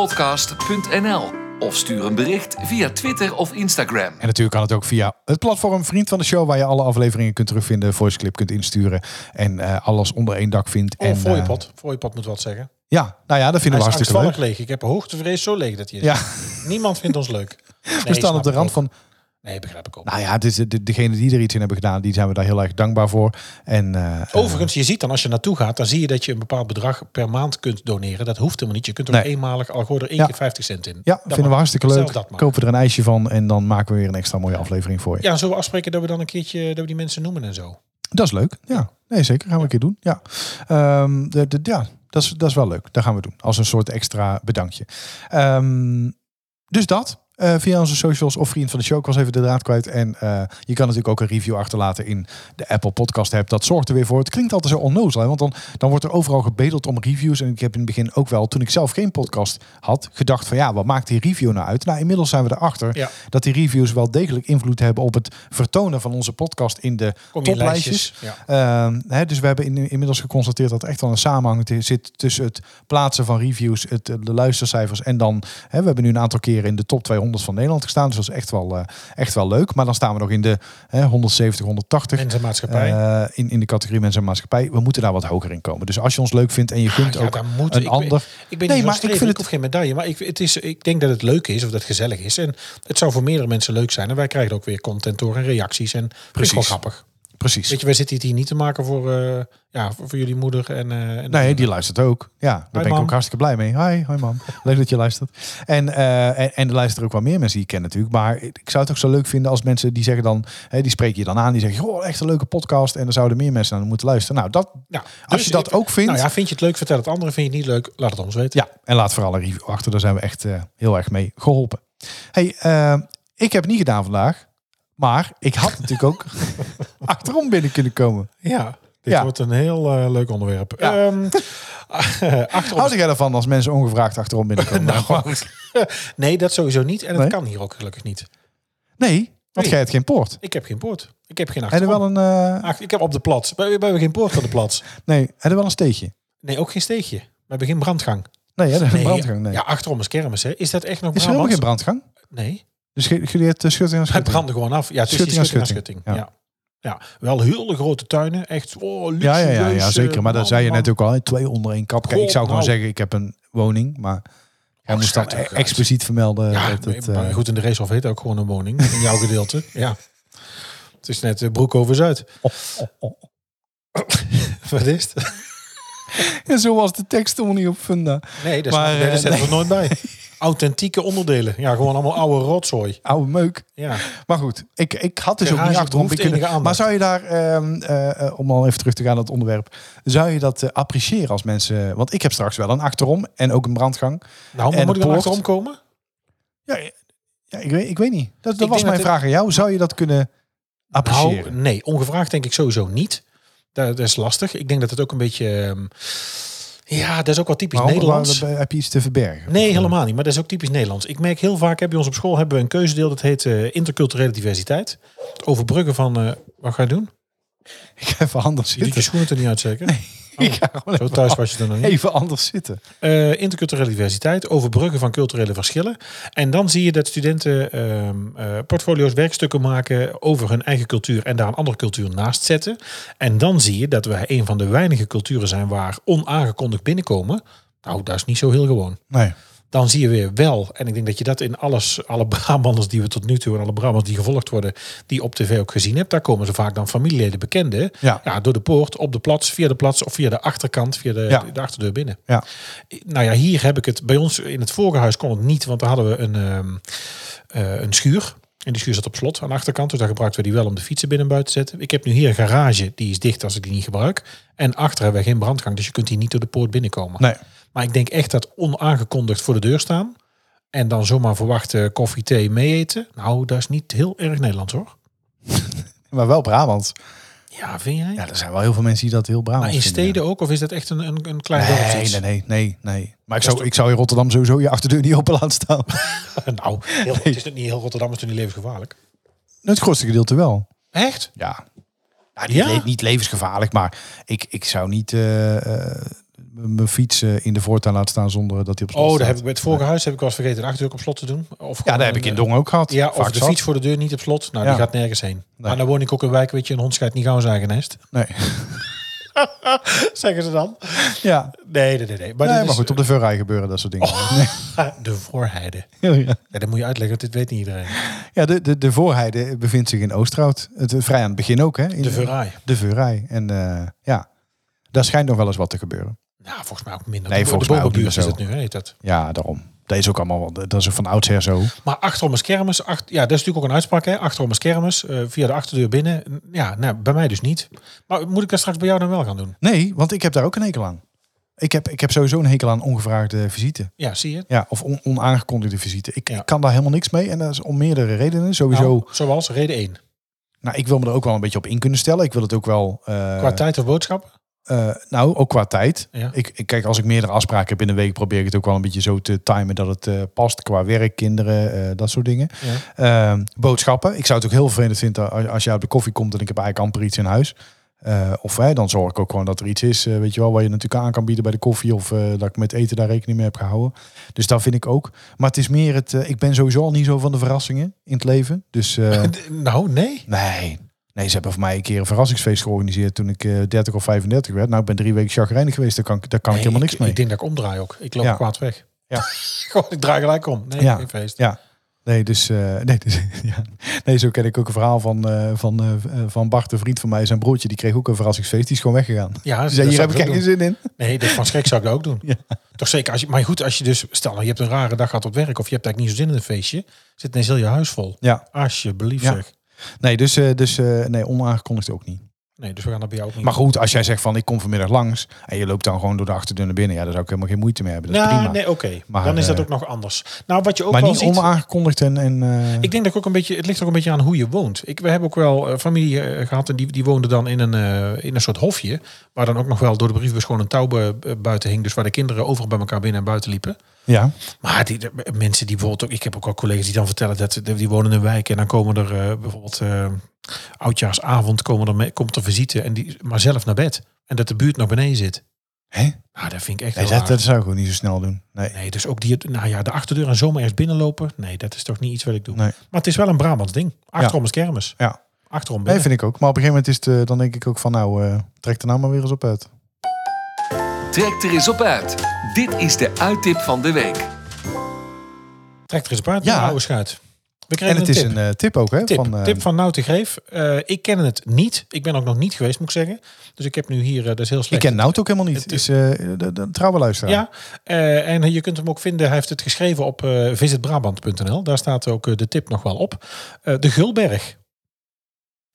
Speaker 1: info@typischbrabantpodcast.nl of stuur een bericht via Twitter of Instagram.
Speaker 3: En natuurlijk kan het ook via het platform Vriend van de Show, waar je alle afleveringen kunt terugvinden, voiceclip kunt insturen en eh, alles onder één dak vindt.
Speaker 2: Oh,
Speaker 3: en,
Speaker 2: voor je
Speaker 3: eh,
Speaker 2: pot. Voor je pot moet wat zeggen.
Speaker 3: ja, nou ja,
Speaker 2: Hij
Speaker 3: dat vinden
Speaker 2: is
Speaker 3: we hartstikke
Speaker 2: angstvallig
Speaker 3: leuk.
Speaker 2: leeg. Ik heb hoogtevrees zo leeg dat hij is.
Speaker 3: Ja,
Speaker 2: Niemand vindt ons leuk.
Speaker 3: <laughs> we staan op de rand van.
Speaker 2: Nee, begrijp ik ook.
Speaker 3: Nou ja, het is de, de- degene die er iets in hebben gedaan, die zijn we daar heel erg dankbaar voor. En, eh,
Speaker 2: Overigens, je ziet dan als je naartoe gaat, dan zie je dat je een bepaald bedrag per maand kunt doneren. Dat hoeft helemaal niet. Je kunt ook
Speaker 3: Nee.
Speaker 2: eenmalig, al gooi er één
Speaker 3: Ja.
Speaker 2: keer 50 cent in.
Speaker 3: ja,
Speaker 2: Dat
Speaker 3: vinden we
Speaker 2: mag.
Speaker 3: hartstikke
Speaker 2: Zelf
Speaker 3: leuk.
Speaker 2: dat maar.
Speaker 3: Kopen we er een ijsje van en dan maken we weer een extra mooie aflevering voor je.
Speaker 2: Ja, zullen we afspreken dat we dan een keertje dat we die mensen noemen en zo.
Speaker 3: Dat is leuk. Ja, nee, zeker. Gaan we een keer doen. Ja, Ehm, de, de, ja dat, is, dat is wel leuk. Dat gaan we doen. Als een soort extra bedankje. Ehm, dus dat. Eh, via onze socials of vriend van de show. Ik was even de draad kwijt. En eh, je kan natuurlijk ook een review achterlaten in de Apple Podcast app. Dat zorgt er weer voor. Het klinkt altijd zo onnozel. Hè? Want dan, dan wordt er overal gebedeld om reviews. En ik heb in het begin ook wel, toen ik zelf geen podcast had, gedacht van ja, wat maakt die review nou uit? Nou, inmiddels zijn we erachter
Speaker 2: Ja.
Speaker 3: dat die reviews wel degelijk invloed hebben op het vertonen van onze podcast in de
Speaker 2: Kom je in
Speaker 3: toplijstjes.
Speaker 2: lijstjes.
Speaker 3: Ehm, hè, dus we hebben in- inmiddels geconstateerd dat er echt wel een samenhang te- zit tussen het plaatsen van reviews, het, eh, de luistercijfers en dan. Hè, we hebben nu een aantal keren in de top 200 van Nederland gestaan. Dus dat is echt wel, eh, echt wel leuk. Maar dan staan we nog in de hè, 170, 180.
Speaker 2: Mensenmaatschappij.
Speaker 3: eh, in, in de categorie mensen en maatschappij. We moeten daar wat hoger in komen. Dus als je ons leuk vindt en je kunt
Speaker 2: Ah, Ja,
Speaker 3: ook
Speaker 2: daar moet
Speaker 3: een
Speaker 2: ik
Speaker 3: ander.
Speaker 2: Ben, ik ben
Speaker 3: Nee,
Speaker 2: niet
Speaker 3: maar
Speaker 2: maar
Speaker 3: ik
Speaker 2: ik
Speaker 3: vind het-
Speaker 2: hoef geen medaille, maar ik, het is, ik denk dat het leuk is of dat het gezellig is. En het zou voor meerdere mensen leuk zijn. En wij krijgen ook weer content door en reacties. En
Speaker 3: Precies.
Speaker 2: precies wel grappig.
Speaker 3: Precies.
Speaker 2: Weet je, wij zitten het hier niet te maken voor, eh, ja, voor, voor jullie moeder en. eh, en
Speaker 3: Nee, die luistert ook. Ja, daar ben ik
Speaker 2: mam.
Speaker 3: ook hartstikke blij mee. Hi, hoi mam. Leuk dat je luistert. En, eh, en, en er luisteren ook wel meer mensen die ik ken natuurlijk. Maar ik zou het ook zo leuk vinden als mensen die zeggen dan... Hè, die spreken je dan aan. Die zeggen, goh, echt een leuke podcast. En er zouden meer mensen naar moeten luisteren. Nou, dat,
Speaker 2: Nou,
Speaker 3: als
Speaker 2: dus
Speaker 3: je dat
Speaker 2: ik-
Speaker 3: ook vindt...
Speaker 2: Nou
Speaker 3: ja.
Speaker 2: ja, vind je het leuk? Vertel het anderen. Vind je het niet leuk? Laat het ons weten.
Speaker 3: en laat vooral een review achter. Daar zijn we echt eh, heel erg mee geholpen. hey, eh, ik heb het niet gedaan vandaag. Maar ik had
Speaker 2: <laughs>
Speaker 3: natuurlijk ook achterom binnen kunnen komen.
Speaker 2: Ja. Dit
Speaker 3: Ja.
Speaker 2: wordt een heel eh, leuk onderwerp.
Speaker 3: Ja. <laughs>
Speaker 2: Ehm, <laughs> achterop
Speaker 3: Houd jij ervan als mensen ongevraagd achterom binnenkomen?
Speaker 2: <laughs> Nou, nee, dat sowieso niet. En dat
Speaker 3: Nee?
Speaker 2: kan hier ook gelukkig niet.
Speaker 3: nee, want
Speaker 2: Nee.
Speaker 3: jij hebt geen poort.
Speaker 2: Ik heb geen poort. Ik heb geen
Speaker 3: Heb je
Speaker 2: achterom.
Speaker 3: wel een... eh,
Speaker 2: Ach, ik heb op de plat. We, we hebben geen poort op de plat.
Speaker 3: Nee, hij had wel een steegje.
Speaker 2: Nee, ook geen steegje. We hebben geen brandgang.
Speaker 3: Nee, hè, een
Speaker 2: Nee,
Speaker 3: brandgang. Nee.
Speaker 2: Ja, achterom is kermis. Hè. Is dat echt nog
Speaker 3: is er helemaal
Speaker 2: Brabants?
Speaker 3: geen brandgang?
Speaker 2: Nee,
Speaker 3: Dus ge- jullie hebben de schutting en
Speaker 2: wij
Speaker 3: schutting.
Speaker 2: branden gewoon af. Ja, het is
Speaker 3: Schutting aan
Speaker 2: schutting, schutting, aan
Speaker 3: schutting.
Speaker 2: schutting. Ja. Ja. wel hele grote tuinen. Echt, oh, luxe.
Speaker 3: Ja, ja, ja, ja, zeker. Maar dat zei je net ook al. hè, Twee onder één kap. Kijk, ik
Speaker 2: Goh,
Speaker 3: zou gewoon
Speaker 2: nou.
Speaker 3: zeggen, ik heb een woning. Maar hij moest dan
Speaker 2: schat ook uit.
Speaker 3: expliciet vermelden.
Speaker 2: Ja,
Speaker 3: dat het,
Speaker 2: maar
Speaker 3: eh,
Speaker 2: goed, in de race of heet ook gewoon een woning. In jouw gedeelte. <laughs> Ja. Het is net eh, broek over Zuid.
Speaker 3: oh, oh, oh.
Speaker 2: <laughs> Wat is het?
Speaker 3: En zo was de tekst helemaal niet op funda.
Speaker 2: Nee, dat,
Speaker 3: Maar,
Speaker 2: maar,
Speaker 3: eh,
Speaker 2: dat zetten we nooit bij. Authentieke onderdelen. Ja, gewoon allemaal oude rotzooi.
Speaker 3: Oude meuk.
Speaker 2: Ja. Nou,
Speaker 3: Maar goed, ik, ik had dus ook
Speaker 2: Garage
Speaker 3: niet achterom
Speaker 2: behoeft
Speaker 3: kunnen.
Speaker 2: enige aandacht.
Speaker 3: Maar zou je daar, ehm, eh, eh, om al even terug te gaan naar het onderwerp, zou je dat eh, appreciëren als mensen? Want ik heb straks wel een achterom en ook een brandgang.
Speaker 2: Nou,
Speaker 3: En
Speaker 2: maar moet ik
Speaker 3: een
Speaker 2: dan
Speaker 3: poort.
Speaker 2: achterom komen?
Speaker 3: Ja, ja ik, weet, ik weet niet. Dat, dat
Speaker 2: denk
Speaker 3: was mijn
Speaker 2: dat het-
Speaker 3: vraag aan jou. Zou je dat kunnen Appreciëren.
Speaker 2: Nou, nee, ongevraagd denk ik sowieso niet. Dat, dat is lastig. Ik denk dat het ook een beetje... ehm, ja, dat is ook wel typisch
Speaker 3: Waarom?
Speaker 2: Nederlands.
Speaker 3: Waar- waar- heb je iets te verbergen?
Speaker 2: Nee, helemaal niet. Maar dat is ook typisch Nederlands. Ik merk heel vaak, hè, bij ons op school hebben we een keuzedeel. Dat heet eh, interculturele diversiteit. Het overbruggen van... eh, wat ga je doen?
Speaker 3: Ik ga even anders
Speaker 2: Je doet je
Speaker 3: zitten.
Speaker 2: schoenen er niet uit zeker?
Speaker 3: Ik ga gewoon
Speaker 2: Zo
Speaker 3: even,
Speaker 2: thuis was je er nog niet.
Speaker 3: even anders zitten.
Speaker 2: Eh, interculturele diversiteit, overbruggen van culturele verschillen. En dan zie je dat studenten ehm, eh, portfolio's, werkstukken maken over hun eigen cultuur en daar een andere cultuur naast zetten. En dan zie je dat wij een van de weinige culturen zijn waar onaangekondigd binnenkomen. Nou, dat is niet zo heel gewoon.
Speaker 3: Nee.
Speaker 2: Dan zie je weer wel, en ik denk dat je dat in alles, alle Brabanders die we tot nu toe en alle Brabanders die gevolgd worden, die op tv ook gezien hebt, daar komen ze vaak dan familieleden, bekenden,
Speaker 3: Ja.
Speaker 2: ja, door de poort, op de plats, via de plats of via de achterkant, via de,
Speaker 3: Ja.
Speaker 2: de achterdeur binnen.
Speaker 3: Ja.
Speaker 2: Nou ja, hier heb ik het. Bij ons in het vorige huis kon het niet, want daar hadden we een, ehm, eh, een schuur. En die schuur zat op slot aan de achterkant. Dus daar gebruikten we die wel om de fietsen binnen en buiten te zetten. Ik heb nu hier een garage, die is dicht als ik die niet gebruik. En achter hebben we geen brandgang, dus je kunt hier niet door de poort binnenkomen.
Speaker 3: Nee.
Speaker 2: Maar ik denk echt dat onaangekondigd voor de deur staan. En dan zomaar verwachten koffie, thee, mee eten. Nou, dat is niet heel erg Nederlands hoor.
Speaker 3: Maar wel Brabant.
Speaker 2: Ja, vind jij?
Speaker 3: Ja, er zijn wel heel veel mensen die dat heel Brabant
Speaker 2: maar in
Speaker 3: vinden.
Speaker 2: steden ook? Of is dat echt een, een, een klein
Speaker 3: Nee,
Speaker 2: dorpsiets? <laughs>
Speaker 3: nee, nee, nee, nee. Maar ik zou, ik zou in Rotterdam sowieso je achterdeur niet open laten staan. <laughs>
Speaker 2: nou, heel, het is niet heel Rotterdam, is toch niet levensgevaarlijk? Oh,
Speaker 3: Het grootste gedeelte wel.
Speaker 2: Echt?
Speaker 3: Ja. Nou, niet, le- niet levensgevaarlijk, maar ik, ik zou niet eh, eh, m- mijn fiets eh, in de voortuin laten staan zonder dat hij op slot
Speaker 2: Oh,
Speaker 3: staat.
Speaker 2: daar heb ik bij het vorige huis heb ik wel eens vergeten een achterdeur op slot te doen. Of
Speaker 3: Ja,
Speaker 2: gewoon
Speaker 3: daar heb
Speaker 2: een,
Speaker 3: ik in
Speaker 2: eh,
Speaker 3: Dong ook gehad.
Speaker 2: Ja, of
Speaker 3: Vaak
Speaker 2: de
Speaker 3: zat.
Speaker 2: fiets voor de deur niet op slot. Nou,
Speaker 3: Ja.
Speaker 2: die gaat nergens heen. Maar dan woon ik ook in wijk, weet je, een hond scheidt niet gauw zijn eigen nest.
Speaker 3: Nee.
Speaker 2: <laughs>
Speaker 3: <laughs>
Speaker 2: Zeggen ze dan?
Speaker 3: Ja.
Speaker 2: Nee, nee, nee. nee. Maar,
Speaker 3: Nee,
Speaker 2: dit
Speaker 3: maar
Speaker 2: is,
Speaker 3: goed, op de verrij gebeuren dat soort dingen.
Speaker 2: eh, de voorheide.
Speaker 3: Nee. <laughs> Ja.
Speaker 2: Ja, dat moet je uitleggen, want dit weet niet iedereen.
Speaker 3: Ja, de, de, de voorheide bevindt zich in Oosterhout. Het, vrij aan het begin ook, hè? In
Speaker 2: De verraai.
Speaker 3: De Verrij. En eh, ja, daar schijnt nog wel eens wat te gebeuren.
Speaker 2: Nou, volgens mij ook minder.
Speaker 3: Nee,
Speaker 2: de,
Speaker 3: volgens
Speaker 2: de
Speaker 3: mij ook niet
Speaker 2: Bovenbuurt
Speaker 3: meer
Speaker 2: is het nu, heet dat.
Speaker 3: Ja, daarom. Dat is ook allemaal, wel- dat is ook van oudsher zo.
Speaker 2: Maar achterom is kermis. Acht, ja, dat is natuurlijk ook een uitspraak, hè. Achterom is kermis, eh, via de achterdeur binnen. Ja, nou, bij mij dus niet. Maar moet ik dat straks bij jou dan wel gaan doen?
Speaker 3: Nee, want ik heb daar ook een hekel aan. Ik heb, ik heb sowieso een hekel aan ongevraagde visite.
Speaker 2: Ja, zie je?
Speaker 3: Ja, of on- onaangekondigde visite. Ik,
Speaker 2: Ja.
Speaker 3: ik kan daar helemaal niks mee. En dat is om meerdere redenen. Sowieso, nou,
Speaker 2: Nou, zoals reden 1.
Speaker 3: ik wil me er ook wel een beetje op in kunnen stellen. Ik wil het ook wel... eh,
Speaker 2: Qua tijd of boodschappen?
Speaker 3: eh, nou, ook qua tijd.
Speaker 2: Ja.
Speaker 3: Ik, ik, kijk, als ik meerdere afspraken heb in een week... probeer ik het ook wel een beetje zo te timen dat het eh, past. Qua werk, kinderen, eh, dat soort dingen.
Speaker 2: Ja.
Speaker 3: Ehm, boodschappen. Ik zou het ook heel vervelend vinden als, als jij op de koffie komt en ik heb eigenlijk amper iets in huis. Eh, of hè, dan zorg ik ook gewoon dat er iets is, eh, weet je wel, waar je natuurlijk aan kan bieden bij de koffie. Of eh, dat ik met eten daar rekening mee heb gehouden. Dus dat vind ik ook. Maar het is meer het, eh, ik ben sowieso al niet zo van de verrassingen in het leven.
Speaker 2: <laughs>
Speaker 3: Dus eh,
Speaker 2: D- <laughs> Nou, nee.
Speaker 3: nee. Nee, ze hebben voor mij een keer een verrassingsfeest georganiseerd toen ik eh, 30 of 35 werd. Nou, ik ben drie weken chagrijnig geweest, daar kan, ik- daar kan ik
Speaker 2: Nee,
Speaker 3: helemaal niks mee.
Speaker 2: Ik denk dat ik omdraai ook. Ik loop
Speaker 3: Ja.
Speaker 2: kwaad weg. <laughs>
Speaker 3: Ja.
Speaker 2: Gewoon, ik draai gelijk om. Nee,
Speaker 3: Ja.
Speaker 2: geen feest.
Speaker 3: Ja. Nee, dus, eh, nee, dus <laughs> ja. nee, zo ken ik ook een verhaal van, eh, van, eh, van Bart, een vriend van mij. Zijn broertje, die kreeg ook een verrassingsfeest. Die is gewoon weggegaan.
Speaker 2: Ja,
Speaker 3: Die zei, hier heb ik
Speaker 2: geen
Speaker 3: geen zin in.
Speaker 2: Nee, dat van schrik zou ik dat ook doen.
Speaker 3: <laughs> Ja.
Speaker 2: Toch zeker. Als je, maar goed, als je dus... Stel, nou, je hebt een rare dag gehad op werk... of je hebt eigenlijk niet zo zin in een feestje... zit ineens heel je huis vol.
Speaker 3: Ja,
Speaker 2: Alsjeblieft
Speaker 3: Ja.
Speaker 2: zeg.
Speaker 3: nee, dus, eh, dus eh, nee, onaangekondigd ook niet.
Speaker 2: Nee, dus we gaan dat bij jou ook niet
Speaker 3: Maar goed, als jij zegt van, ik kom vanmiddag langs. En je loopt dan gewoon door de achterdeur naar binnen. Ja, daar zou ik helemaal geen moeite mee hebben. Dat is
Speaker 2: Nou,
Speaker 3: prima.
Speaker 2: nee, oké.
Speaker 3: Maar,
Speaker 2: Dan is dat
Speaker 3: eh,
Speaker 2: ook nog anders. Nou, wat je ook
Speaker 3: maar
Speaker 2: wel
Speaker 3: niet
Speaker 2: ziet...
Speaker 3: onaangekondigd en... en eh,
Speaker 2: Ik denk dat ik ook een beetje, het ligt ook een beetje aan hoe je woont. Ik, we hebben ook wel eh, familie eh, gehad en die, die woonde dan in een, eh, in een soort hofje. Waar dan ook nog wel door de briefbus gewoon een touw bu- eh, buiten hing. Dus waar de kinderen overal bij elkaar binnen en buiten liepen.
Speaker 3: ja.
Speaker 2: Maar die, de- mensen die bijvoorbeeld ook, ik heb ook al collega's die dan vertellen dat ze- die wonen in een wijk. En dan komen er eh, bijvoorbeeld eh, oudjaarsavond komen er me- komt er visite. En die, maar zelf naar bed. En dat de buurt nog beneden zit.
Speaker 3: Hè?
Speaker 2: Nou, dat vind ik echt
Speaker 3: Nee,
Speaker 2: heel
Speaker 3: dat,
Speaker 2: raar.
Speaker 3: dat zou ik ook niet zo snel doen. Nee.
Speaker 2: Nee, dus ook die, nou ja, de achterdeur en zomaar ergens binnenlopen. Nee, dat is toch niet iets wat ik doe.
Speaker 3: Nee.
Speaker 2: Maar het is wel een Brabants ding. Achterom is kermis.
Speaker 3: Ja.
Speaker 2: Achterom
Speaker 3: nee,
Speaker 2: binnen.
Speaker 3: vind ik ook. Maar op een gegeven moment is het, eh, dan denk ik ook van, nou, eh, trek er nou maar weer eens op uit.
Speaker 1: Trek er eens op uit. Dit is de uittip van de week.
Speaker 2: Trek er eens op uit.
Speaker 3: Ja.
Speaker 2: Ja. Oude schuit. We kregen
Speaker 3: En het
Speaker 2: een
Speaker 3: is
Speaker 2: tip.
Speaker 3: een eh, tip ook, hè?
Speaker 2: tip.
Speaker 3: Van, eh,
Speaker 2: tip van Nou te Greef. Eh, ik ken het niet. Ik ben ook nog niet geweest, moet ik zeggen. Dus ik heb nu hier, eh, dat is heel
Speaker 3: Ik
Speaker 2: slecht.
Speaker 3: ken Nout ook helemaal niet.
Speaker 2: Het
Speaker 3: is eh, de, de- een trouwe luisteraar.
Speaker 2: Ja, eh, en je kunt hem ook vinden. Hij heeft het geschreven op eh, visitbrabant.nl. Daar staat ook eh, de tip nog wel op. Eh, de Gulberg.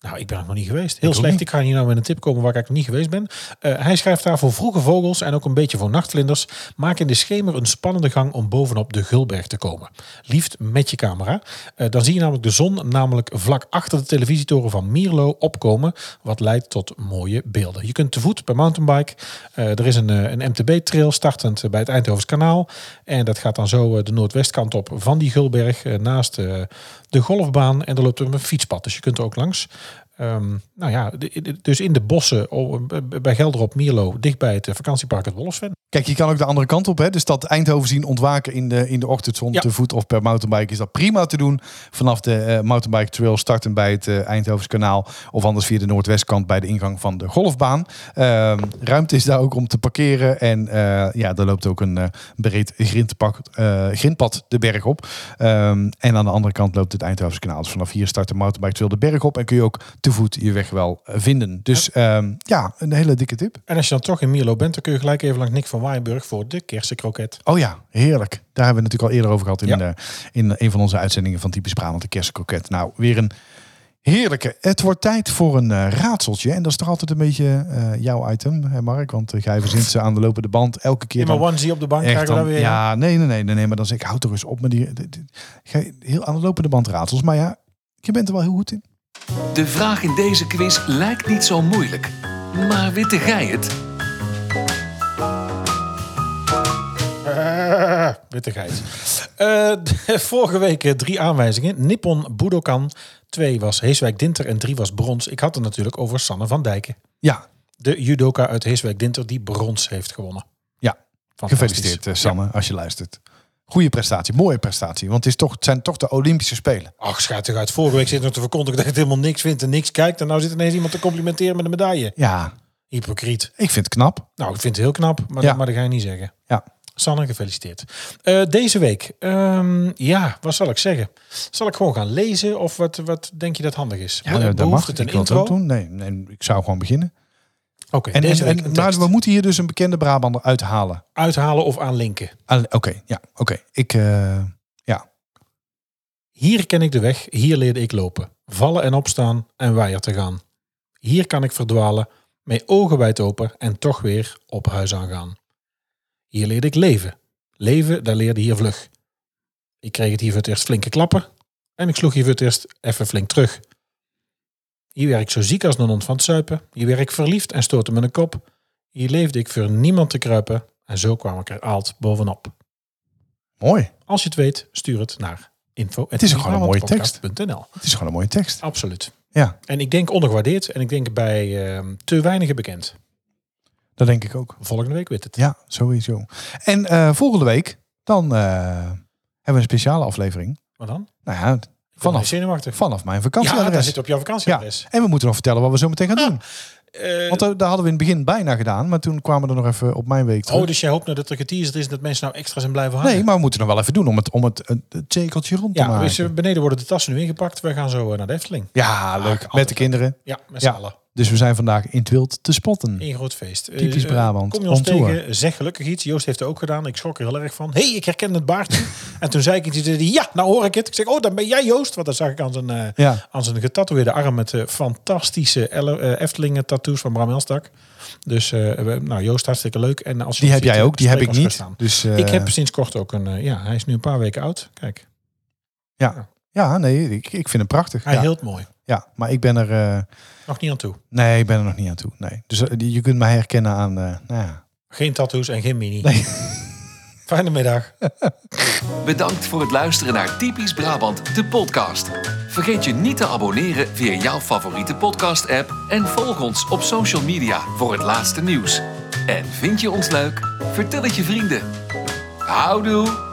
Speaker 2: Nou, ik ben er nog niet geweest. Heel
Speaker 3: ook
Speaker 2: slecht.
Speaker 3: niet.
Speaker 2: Ik ga hier nou met een tip komen waar ik nog niet geweest ben. Eh, hij schrijft daar voor vroege vogels en ook een beetje voor nachtvlinders. Maak in de schemer een spannende gang om bovenop de Gulberg te komen. Liefst met je camera. Eh, dan zie je namelijk de zon namelijk vlak achter de televisietoren van Mierlo opkomen. Wat leidt tot mooie beelden. Je kunt te voet per mountainbike. Eh, er is een, eh, een MTB-trail startend eh, bij het Eindhovens kanaal. En dat gaat dan zo eh, de noordwestkant op van die Gulberg. eh, naast eh, de golfbaan. En er loopt er een fietspad. Dus je kunt er ook langs. Ehm, nou ja, de- de- dus in de bossen oh, eh, bij Gelderop, Mierlo, dichtbij het eh, vakantiepark het Wolfsven.
Speaker 3: Kijk, je kan ook de andere kant op. Hè? Dus dat Eindhoven zien ontwaken in de, in de ochtendzon
Speaker 2: Ja.
Speaker 3: te voet of per mountainbike is dat prima te doen. Vanaf de eh, mountainbike trail starten bij het eh Eindhovens kanaal. Of anders via de noordwestkant bij de ingang van de golfbaan. Ehm, ruimte is daar ook om te parkeren. En eh, ja, daar loopt ook een eh, breed grindpak, eh, grindpad de berg op. Ehm, en aan de andere kant loopt het Eindhovens kanaal. Dus vanaf hier start de mountainbike trail de berg op. En kun je ook te voet je weg wel eh, vinden. Dus ehm, ja, een hele dikke tip.
Speaker 2: En als je dan toch in Mierlo bent, dan kun je gelijk even langs Nick van Waaienburg voor de kersenkroket.
Speaker 3: Oh ja, heerlijk. Daar hebben we het natuurlijk al eerder over gehad in,
Speaker 2: Ja.
Speaker 3: eh, in een van onze uitzendingen van Typisch Brabant, de kerstkroket. Nou, weer een heerlijke. Het wordt tijd voor een eh, raadseltje. En dat is toch altijd een beetje eh, jouw item, hè Mark? Want uh, jij verzint ze aan de lopende band elke keer.
Speaker 2: In
Speaker 3: dan
Speaker 2: mijn onesie op de bank
Speaker 3: echt
Speaker 2: krijgen we
Speaker 3: dan-
Speaker 2: dan weer.
Speaker 3: ja, nee, nee, nee, nee, nee, maar dan zeg ik, houd toch eens op met die dit- dit- ge- heel aan de lopende band raadsels. Maar ja, je bent er wel heel goed in.
Speaker 1: De vraag in deze quiz lijkt niet zo moeilijk. Maar witte gij het?
Speaker 2: Ah, <laughs> witte geit. Eh, <laughs> de- vorige week eh, drie aanwijzingen. Nippon Budokan. Twee was Heeswijk Dinter en drie was brons. Ik had het natuurlijk over Sanne van Dijken.
Speaker 3: Ja,
Speaker 2: De judoka uit Heeswijk Dinter die brons heeft gewonnen.
Speaker 3: Ja,
Speaker 2: Fantastisch.
Speaker 3: gefeliciteerd eh, Sanne, als je luistert. Goede prestatie, mooie prestatie. Want het, is toch, het zijn toch de Olympische Spelen.
Speaker 2: Ach, schaat toch uit. Vorige week zit nog te verkondigen dat je helemaal niks vindt en niks kijkt. En nou zit ineens iemand te complimenteren met een medaille.
Speaker 3: Ja,
Speaker 2: Hypocriet.
Speaker 3: ik vind het knap.
Speaker 2: Nou, ik vind het heel knap, maar,
Speaker 3: Ja.
Speaker 2: maar dat ga je niet zeggen.
Speaker 3: Ja.
Speaker 2: Sanne, gefeliciteerd. Eh, deze week, ehm, ja, wat zal ik zeggen? Zal ik gewoon gaan lezen of wat, wat denk je dat handig is?
Speaker 3: Ja, dat
Speaker 2: Behoeft
Speaker 3: mag.
Speaker 2: het
Speaker 3: ik
Speaker 2: een
Speaker 3: wil het
Speaker 2: intro?
Speaker 3: ook doen. Nee, nee, ik zou gewoon beginnen.
Speaker 2: Oké,
Speaker 3: En,
Speaker 2: deze
Speaker 3: en,
Speaker 2: week
Speaker 3: en-
Speaker 2: een
Speaker 3: maar
Speaker 2: tekst.
Speaker 3: we moeten hier dus een bekende Brabander uithalen.
Speaker 2: Uithalen of aanlinken.
Speaker 3: Ah, Oké, ja, oké. Ik, eh,
Speaker 2: Hier ken ik de weg, hier leerde ik lopen. Vallen en opstaan en weier te gaan. Hier kan ik verdwalen, met ogen wijd open en toch weer op huis aangaan. Hier leerde ik leven. Leven, daar leerde hier vlug. Ik kreeg het hier voor het eerst flinke klappen en ik sloeg hier voor het eerst even flink terug. Hier werd ik zo ziek als een hond van het zuipen. Hier werd ik verliefd en stootte me een kop. Hier leefde ik voor niemand te kruipen en zo kwam ik er aald bovenop.
Speaker 3: mooi.
Speaker 2: Als je het weet, stuur het naar info. Het
Speaker 3: is ook gewoon een mooie
Speaker 2: .nl.
Speaker 3: Het is gewoon een mooie tekst.
Speaker 2: Absoluut.
Speaker 3: Ja,
Speaker 2: En ik denk ondergewaardeerd en ik denk bij ehm, te weinigen bekend.
Speaker 3: dat denk ik ook.
Speaker 2: Volgende week weet het.
Speaker 3: Ja, sowieso. En eh, volgende week, dan eh, hebben we een speciale aflevering.
Speaker 2: Maar dan?
Speaker 3: Nou ja,
Speaker 2: Ik ben
Speaker 3: vanaf,
Speaker 2: zenuwachtig.
Speaker 3: vanaf mijn
Speaker 2: Ja, daar
Speaker 3: vakantieadres.
Speaker 2: zit op jouw vakantieadres.
Speaker 3: en we moeten nog vertellen wat we zo meteen gaan doen.
Speaker 2: Eh,
Speaker 3: Want daar daar hadden we in het begin bijna gedaan. Maar toen kwamen we er nog even op mijn week terug.
Speaker 2: oh, dus jij hoopt nou dat er geteaserd is en dat mensen nou extra zijn blijven hangen?
Speaker 3: nee, maar we moeten nog wel even doen om het, om het, eh, het cirkeltje rond te
Speaker 2: Ja,
Speaker 3: maken.
Speaker 2: dus, eh, beneden worden de tassen nu ingepakt. We gaan zo eh, naar de Efteling.
Speaker 3: Ja,
Speaker 2: Ach,
Speaker 3: leuk.
Speaker 2: altijd
Speaker 3: Met de kinderen.
Speaker 2: Ja, met z'n
Speaker 3: Ja.
Speaker 2: allen.
Speaker 3: Dus we zijn vandaag in het wild te spotten.
Speaker 2: Eén groot feest. Eh,
Speaker 3: Typisch
Speaker 2: eh,
Speaker 3: Brabant,
Speaker 2: Kom je ons
Speaker 3: on tour.
Speaker 2: tegen, zeg gelukkig iets. Joost heeft het ook gedaan. Ik schrok er heel erg van. Hé, hey, ik herken het
Speaker 3: <laughs>
Speaker 2: baardje. en toen zei ik iets. en zei hij, Ja, nou hoor ik het. Ik zeg, oh, dan ben jij Joost. Want dat zag ik aan zijn, eh,
Speaker 3: Ja.
Speaker 2: aan zijn getatoeëerde arm met eh, fantastische Elle- eh, Eftelingen-tattoos van Bram Elstak. Dus eh, we- nou, Joost, hartstikke leuk. En als je
Speaker 3: Die
Speaker 2: hem
Speaker 3: heb
Speaker 2: ziet,
Speaker 3: jij
Speaker 2: eh,
Speaker 3: ook, die heb
Speaker 2: spreek
Speaker 3: ik
Speaker 2: ons
Speaker 3: niet.
Speaker 2: gerust aan.
Speaker 3: Dus eh,
Speaker 2: ik heb sinds kort ook een... eh, ja, hij is nu een paar weken oud. Kijk,
Speaker 3: ja, nee, ik, ik vind hem prachtig.
Speaker 2: hij
Speaker 3: Ja,
Speaker 2: hield mooi.
Speaker 3: ja, maar ik ben er, eh,
Speaker 2: Nog niet aan toe.
Speaker 3: nee, ik ben er nog niet aan toe. Nee, dus eh, die- je kunt mij herkennen aan, eh, nou ja.
Speaker 2: Geen tattoos en geen
Speaker 3: <laughs>
Speaker 2: mini.
Speaker 3: Nee.
Speaker 2: Fijne middag.
Speaker 1: Bedankt voor het luisteren naar Typisch Brabant, de podcast. Vergeet je niet te abonneren via jouw favoriete podcast-app en volg ons op social media voor het laatste nieuws. En vind je ons leuk? Vertel het je vrienden. Houdoe!